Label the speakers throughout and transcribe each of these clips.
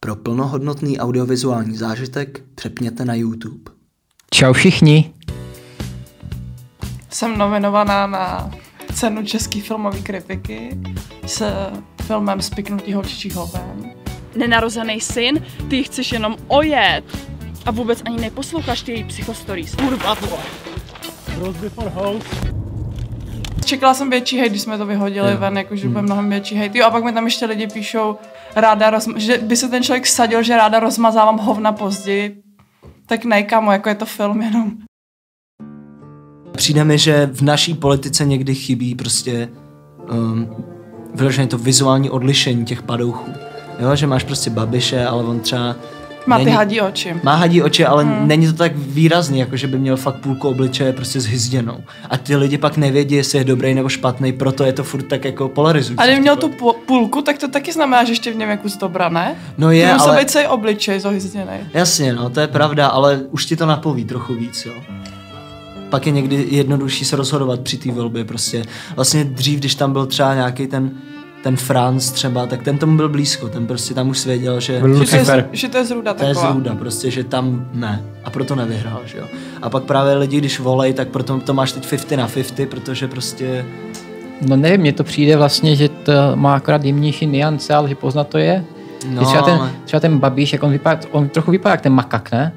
Speaker 1: Pro plnohodnotný audiovizuální zážitek přepněte na YouTube.
Speaker 2: Čau všichni.
Speaker 3: Jsem nominovaná na cenu český filmové kritiky s filmem Spiknutý holčičí hoven.
Speaker 4: Nenarozený syn, ty ji chceš jenom ojet. A vůbec ani neposloucháš ty její psychostories. Kurva vole.
Speaker 3: Čekala jsem větší hejt, když jsme to vyhodili jo. ven, jakože bude mnohem větší hejt. Jo, a pak mi tam ještě lidi píšou, ráda rozma- že by se ten člověk sadil, že ráda rozmazávám hovna později. Tak ne, kamo, jako je to film jenom.
Speaker 5: Přijde mi, že v naší politice někdy chybí prostě um, vyloženě to vizuální odlišení těch padouchů. Jo, že máš prostě babiše, ale on třeba
Speaker 3: Má ty
Speaker 5: Není-
Speaker 3: hadí Mhm. oči.
Speaker 5: má hadí oči, ale hmm. není to tak výrazný, jako že by měl fakt půlku obličeje prostě zhyzděnou. A ty lidi pak nevědí, jestli je dobrý nebo špatný, proto je to furt tak jako polarizující.
Speaker 3: A kdyby měl tu půl- půlku, tak to taky znamená, že ještě v něm jako zdobra, ne?
Speaker 5: No
Speaker 3: Je,
Speaker 5: je,
Speaker 3: to musel
Speaker 5: ale...
Speaker 3: ale... být celý obličej zohyzděnej.
Speaker 5: Jasně, no, to je pravda, ale už ti to napoví trochu víc, jo. Pak je někdy jednodušší se rozhodovat při té volbě, prostě. Vlastně dřív, když tam byl třeba nějaký ten, ten Franz třeba, tak ten tomu byl blízko, ten prostě tam už věděl, že
Speaker 2: Byl
Speaker 3: Že to, je,
Speaker 2: Lucifer.
Speaker 3: z- že to je zrůda
Speaker 5: to
Speaker 3: taková.
Speaker 5: je zrůda, prostě, že tam ne. A proto nevyhrál, že jo. A pak právě lidi, když volej, tak proto to máš teď 50 na 50, protože prostě
Speaker 2: No nevím, mně to přijde vlastně, že to má akorát jemnější niance, ale že poznat to je.
Speaker 5: No,
Speaker 2: No, třeba,
Speaker 5: ale-
Speaker 2: ten, třeba ten babíš, jak on, vypadá, on trochu vypadá jak ten makak, ne?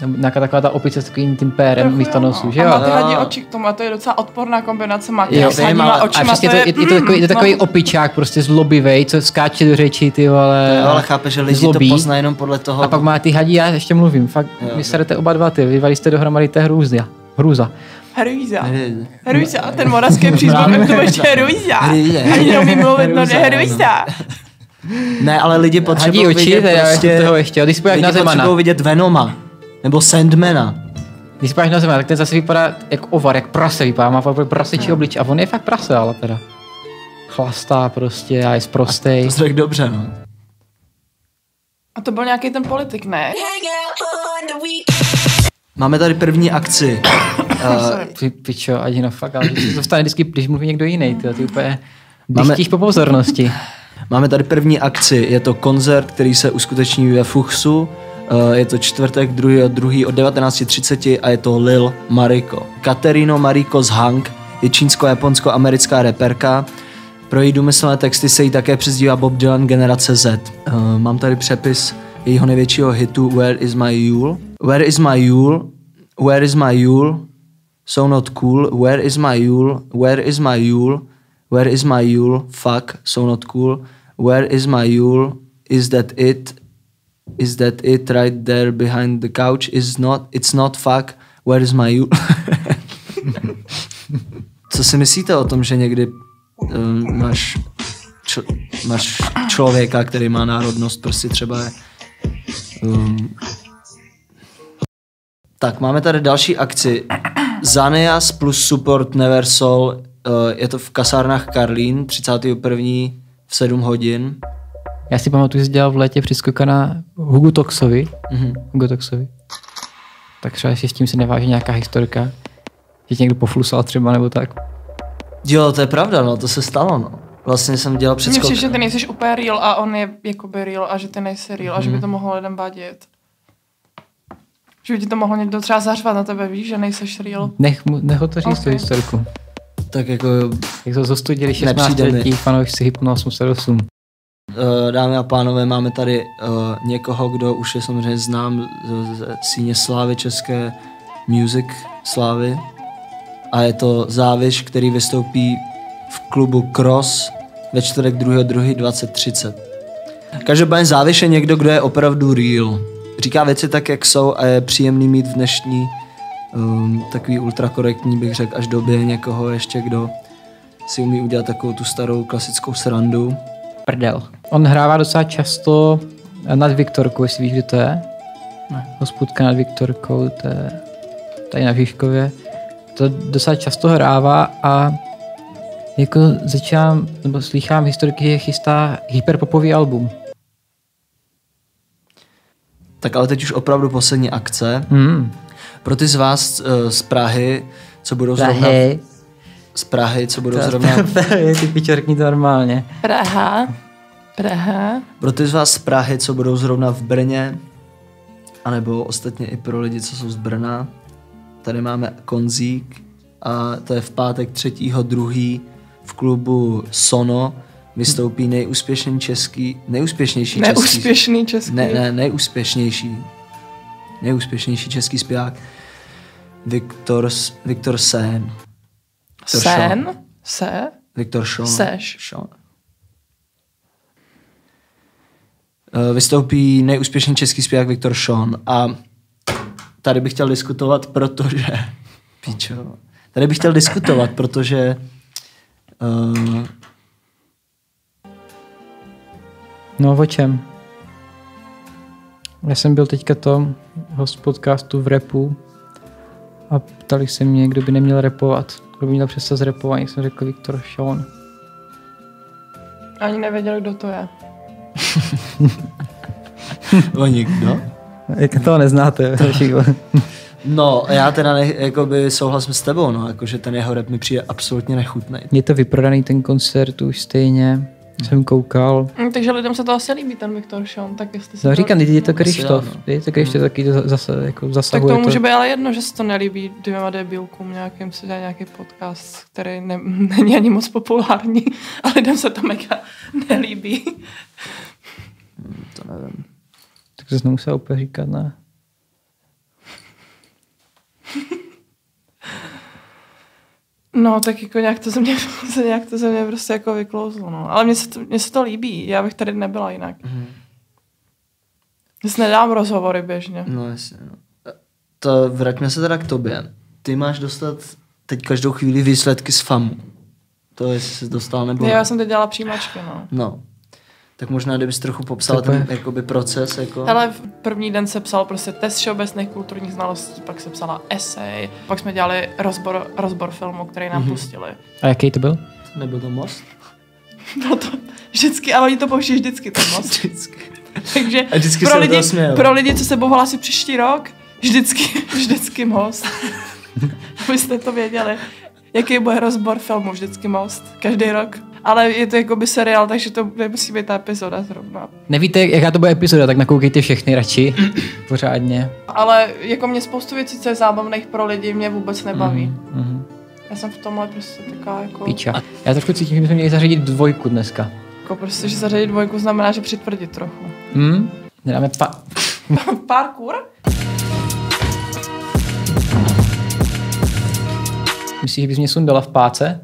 Speaker 2: Nebo Nějaká taková ta opice s takovým tím pérem místo nosu, že
Speaker 3: no. A
Speaker 2: jo?
Speaker 3: má ty
Speaker 5: Jo.
Speaker 3: hadí oči k tomu, a to je docela odporná kombinace maky.
Speaker 2: Jo,
Speaker 3: Jo,
Speaker 5: vím,
Speaker 3: s hadíma
Speaker 5: ale- ale
Speaker 2: A
Speaker 3: očima
Speaker 2: přesně
Speaker 3: to je... No,
Speaker 2: je, je, to takový,
Speaker 5: Mm,
Speaker 2: je to
Speaker 5: no.
Speaker 2: takový opičák, prostě zlobivej, co skáče do řeči, ty vole.
Speaker 5: jo, ale chápeš, že lidi
Speaker 2: Eh, zlobí.
Speaker 5: to poznají jenom podle toho.
Speaker 2: A pak má ty hadí, já ještě mluvím, fakt,
Speaker 5: Jo.
Speaker 2: vy serete oba dva, ty, vy jste dohromady, to je hrůza. Hrůza.
Speaker 3: Heruíza.
Speaker 5: Hry-
Speaker 3: Heruíza, ten moravský přízvuk, jak to ještě heruíza.
Speaker 5: hry-
Speaker 3: Ani neumím mluvit, no
Speaker 5: Heruíza,
Speaker 3: ne, heruíza.
Speaker 5: Ne, ale lidi potřebují
Speaker 2: Hadí oči,
Speaker 5: vidět
Speaker 2: teda
Speaker 5: prostě...
Speaker 2: toho ještě, jo, když se podíváš
Speaker 5: lidi
Speaker 2: na Zemana.
Speaker 5: potřebují vidět Venoma. Nebo Sandmana.
Speaker 2: Když se páš na zem, tak ten zase vypadá jak ovar, jak prase vypadá, má opravdu prasečí oblič a on je fakt prase, ale teda. Chlastá prostě a je sprostej.
Speaker 5: To jsi řekl dobře, no.
Speaker 3: A to byl nějaký ten politik, ne?
Speaker 6: hang out on the weekend.
Speaker 5: Máme tady první akci. Eh,
Speaker 2: Ty pičo, ať no fakt, ale to dostane vždycky, když mluví někdo jiný, ty, ty úplně...
Speaker 5: Máme-
Speaker 2: Máme... po pozornosti.
Speaker 5: Máme tady první akci, je to koncert, který se uskuteční ve Fuchsu. Eh, Je to čtvrtek, druhý, druhý od 19.30 a je to Lil Mariko. Katerino Mariko z Hank je čínsko-japonsko-americká reperka. Pro její důmyslné texty se jí také přezdívá Bob Dylan generace Z. Eh, Mám tady přepis jejího největšího hitu Where is my Yule. Where is my Yule? Where is my Yule? So not cool, where is my Yule, where is my Yule, where is my Yule, fuck, so not cool, where is my Yule, is that it, is that it right there behind the couch, is not, it's not fuck, where is my Yule. Co si myslíte o tom, že někdy um, máš, čl- máš člověka, který má národnost prostě třeba um, tak, máme tady další akci. Zanias plus support Never Soul. eh, Je to v kasárnách Karlín 31. v 7 hodin.
Speaker 2: Já si pamatuju, že jsi dělal v létě přiskoka na Hugo Toxovi.
Speaker 5: Mhm.
Speaker 2: Hugo Toxovi. Tak třeba jestli s tím se neváže nějaká historka. Že tě někdo poflusal třeba nebo tak.
Speaker 5: Jo, to je pravda, no, to se stalo, no. Vlastně jsem dělal před
Speaker 3: Mně přijde, že
Speaker 5: skokem.
Speaker 3: ty nejsi úplně real a on je jakoby real a že ty nejsi real a že by
Speaker 5: Mhm.
Speaker 3: to mohlo lidem vadit. Že by ti to mohlo někdo třeba zařvat na tebe, víš, že nejseš real.
Speaker 2: Nech, mu, nech ho to říct okay. tu
Speaker 3: Ok.
Speaker 2: historku.
Speaker 5: Tak jako,
Speaker 2: Jak to zostudili
Speaker 5: Nepřijde
Speaker 2: 16
Speaker 5: mi.
Speaker 2: letí fanoušci Hypno 808.
Speaker 5: eh, dámy a pánové, máme tady eh, někoho, kdo už je samozřejmě znám z, z síně slávy české music slávy. A je to Záviš, který vystoupí v klubu Cross ve čtvrtek 2.2.2030. Každopádně záviš je někdo, kdo je opravdu real. Říká věci tak, jak jsou a je příjemný mít v dnešní um, takový ultrakorektní, bych řekl, až době někoho ještě, kdo si umí udělat takovou tu starou klasickou srandu.
Speaker 2: Prdel. On hrává docela často nad Viktorkou, jestli víš, kde to je. Ne. Hospůdka nad Viktorkou, to je tady na Žižkově. To docela často hrává a jako začínám, nebo slychám historiky, že chystá hyperpopový album.
Speaker 5: Tak ale teď už opravdu poslední akce.
Speaker 2: Hmm.
Speaker 5: Pro ty z vás eh, z Prahy, co budou zrovna... Z Prahy, co budou zrovna...
Speaker 2: Ty pičo, řekni to normálně.
Speaker 3: Praha.
Speaker 7: Praha.
Speaker 5: Pro ty z vás z Prahy, co budou zrovna v Brně, anebo ostatně i pro lidi, co jsou z Brna, tady máme konzík a to je v pátek 3.2. v klubu Sono vystoupí nejúspěšný český, nejúspěšnější český
Speaker 3: Neúspěšný český.
Speaker 5: ne, ne, nejúspěšnější. Nejúspěšnější český zpěvák. Viktor, S- Viktor Sen. To šlo.
Speaker 3: Sen? Se?
Speaker 5: Viktor Sean.
Speaker 3: Seš.
Speaker 5: Sean. Eh, Vystoupí nejúspěšnější český zpěvák Viktor Sean a tady bych chtěl diskutovat, protože... Píčo. Tady bych chtěl diskutovat, protože... Uh,
Speaker 2: No o čem? Já jsem byl teďka tom host podcastu v repu a ptali se mě, kdo by neměl repovat. Kdo by měl přestat s repování, jsem řekl Viktor Sean.
Speaker 3: Ani nevěděl, kdo to je.
Speaker 5: o nikdo.
Speaker 2: Jak toho neznáte?
Speaker 5: No, já teda ne, jakoby souhlasím s tebou, no, jakože ten jeho rap mi přijde absolutně nechutný.
Speaker 2: Mě to vyprodaný ten koncert už stejně. Jsem koukal.
Speaker 3: Mm, takže lidem se to asi líbí, ten Viktor Sean, tak jestli si
Speaker 2: No říkám,
Speaker 3: to...
Speaker 2: teď je to
Speaker 5: Asi
Speaker 2: Krištof.
Speaker 5: ano.
Speaker 2: Je to Krištof taky to zase, jako
Speaker 3: no. Hmm. Tak
Speaker 2: zasahuje
Speaker 3: to může být ale jedno, že se to nelíbí dvěma debilkům nějakým, si dělá nějaký podcast, který ne, není ani moc populární a lidem se to mega nelíbí.
Speaker 5: To nevím.
Speaker 2: Tak to znovu se úplně říkat, ne?
Speaker 3: No, tak jako nějak to ze mě, se nějak to ze mě prostě jako vyklouzlo, no. Ale mně se, to, mně se to líbí, já bych tady nebyla jinak. Mm. Já si nedám rozhovory běžně.
Speaker 5: No jasně, no. To vraťme se teda k tobě. Ty máš dostat teď každou chvíli výsledky z FAMu. To jestli jsi dostal nebo
Speaker 3: No.
Speaker 5: ne.
Speaker 3: Já jsem teď dělala přijímačky, no.
Speaker 5: No. Tak možná, kdybys trochu popsala
Speaker 2: To
Speaker 5: ten jakoby, proces, jako...
Speaker 3: Ale v první den se psal prostě test všeobecných kulturních znalostí, pak se psala esej, pak jsme dělali rozbor, rozbor filmu, který nám mm-hmm. pustili.
Speaker 2: A jaký to byl?
Speaker 5: Nebyl to most?
Speaker 3: Bylo to vždycky, ale oni to pouští vždycky ten most.
Speaker 5: Vždycky.
Speaker 3: Takže
Speaker 5: A vždycky se
Speaker 3: pro,
Speaker 5: do toho
Speaker 3: lidi,
Speaker 5: směl.
Speaker 3: pro lidi, co se budou hlásit příští rok, vždycky, vždycky most. Abyste to věděli. Jaký bude rozbor filmu, vždycky most. Každý rok. Ale je to jakoby seriál, takže to nemusí být ta epizoda zrovna.
Speaker 2: Nevíte, jaká to bude epizoda, tak nakoukejte všechny radši. Pořádně.
Speaker 3: Ale jako mě spoustu věcí, co je zábavných pro lidi, mě vůbec nebaví. Mm-hmm.
Speaker 2: Mhm.
Speaker 3: Já jsem v tomhle prostě taká jako...
Speaker 2: Píča. Já trošku cítím, že bychom měli zařadit dvojku dneska.
Speaker 3: jako prostě, že zařadit dvojku znamená, že přitvrdit trochu.
Speaker 2: Hm? Nedáme pa...
Speaker 3: Parkour?
Speaker 2: Myslíš, že bys mě sundala v páce?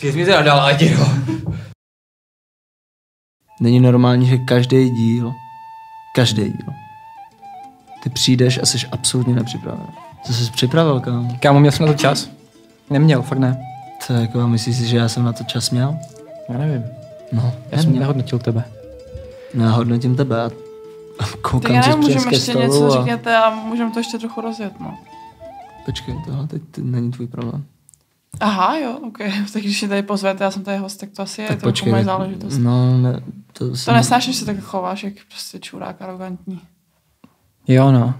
Speaker 2: Ty jsi mi teda dala, dělo.
Speaker 5: Není normální, že každý díl, každý díl, ty přijdeš a jsi absolutně nepřipraven. Co jsi připravil, kámo?
Speaker 2: Kámo, měl jsem na to čas? Neměl, fakt ne.
Speaker 5: To je jako, myslíš si, že já jsem na to čas měl?
Speaker 2: Já nevím.
Speaker 5: No,
Speaker 2: Já jsem nehodnotil tebe.
Speaker 5: Já hodnotím tebe a
Speaker 3: Tak
Speaker 5: koukám,
Speaker 3: já
Speaker 5: že
Speaker 3: nevím,
Speaker 5: přijdeš
Speaker 3: můžeme
Speaker 5: ke
Speaker 3: ještě
Speaker 5: stolu
Speaker 3: něco
Speaker 5: a...
Speaker 3: řekněte a můžeme to ještě trochu rozjet, no.
Speaker 5: Počkej, tohle teď t- není tvůj problém.
Speaker 3: Aha, jo, ok. Tak když mě tady pozvete, já jsem tady host, tak to asi je
Speaker 5: tak
Speaker 3: trochu
Speaker 5: počkej.
Speaker 3: moje záležitost.
Speaker 5: No, ne, to, si,
Speaker 3: To nesnáším, že se tak chováš, jak prostě čurák arrogantní.
Speaker 2: Jo no.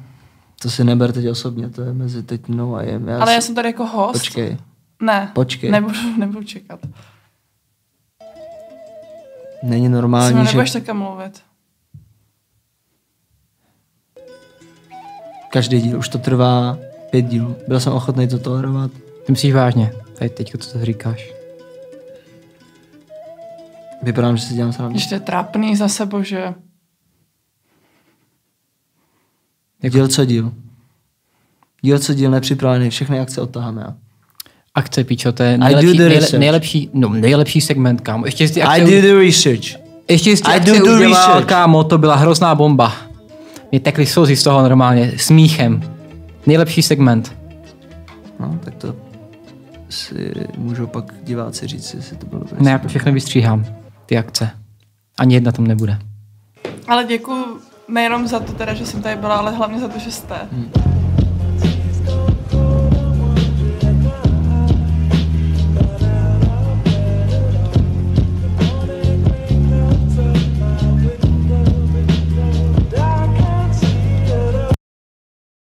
Speaker 5: to si neber teď osobně, to je mezi teď mnou a jem. Já
Speaker 3: Ale
Speaker 5: si-
Speaker 3: já jsem tady jako host.
Speaker 5: Počkej,
Speaker 3: Ne,
Speaker 5: počkej.
Speaker 3: nebudu, nebudu čekat.
Speaker 5: není
Speaker 3: Ani, Se mnou
Speaker 5: normální, že
Speaker 3: nebudeš také mluvit.
Speaker 5: každý díl, už to trvá pět dílů. Byl jsem ochotný to tolerovat.
Speaker 2: Ty myslíš vážně. Tady teďko co to říkáš.
Speaker 5: Vypadám, že si dělám srandu.
Speaker 3: Když to je trápný za sebou, že
Speaker 2: Jako-
Speaker 5: Díl co díl. Díl co díl nepřipravený, všechny akce odtáháme já.
Speaker 2: Akce, pičo, to je
Speaker 5: do
Speaker 2: nejlepší,
Speaker 5: the
Speaker 2: nejle,
Speaker 5: research.
Speaker 2: nejlepší, no, nejlepší segment, kámo. Ještě z ty akce,
Speaker 5: I did the research.
Speaker 2: ještě z ty
Speaker 5: I
Speaker 2: akce
Speaker 5: do the
Speaker 2: udělal,
Speaker 5: research.
Speaker 2: kámo, to byla hrozná bomba. Mě tekly slzy z toho normálně, smíchem. Nejlepší segment.
Speaker 5: No, tak to si můžou pak diváci říct, jestli to bylo dobré.
Speaker 2: Ne, já to všechno vystříhám, ty akce. Ani jedna tam nebude.
Speaker 3: Ale děkuji nejenom za to teda, že jsem tady byla, ale hlavně za to, že jste. Hmm.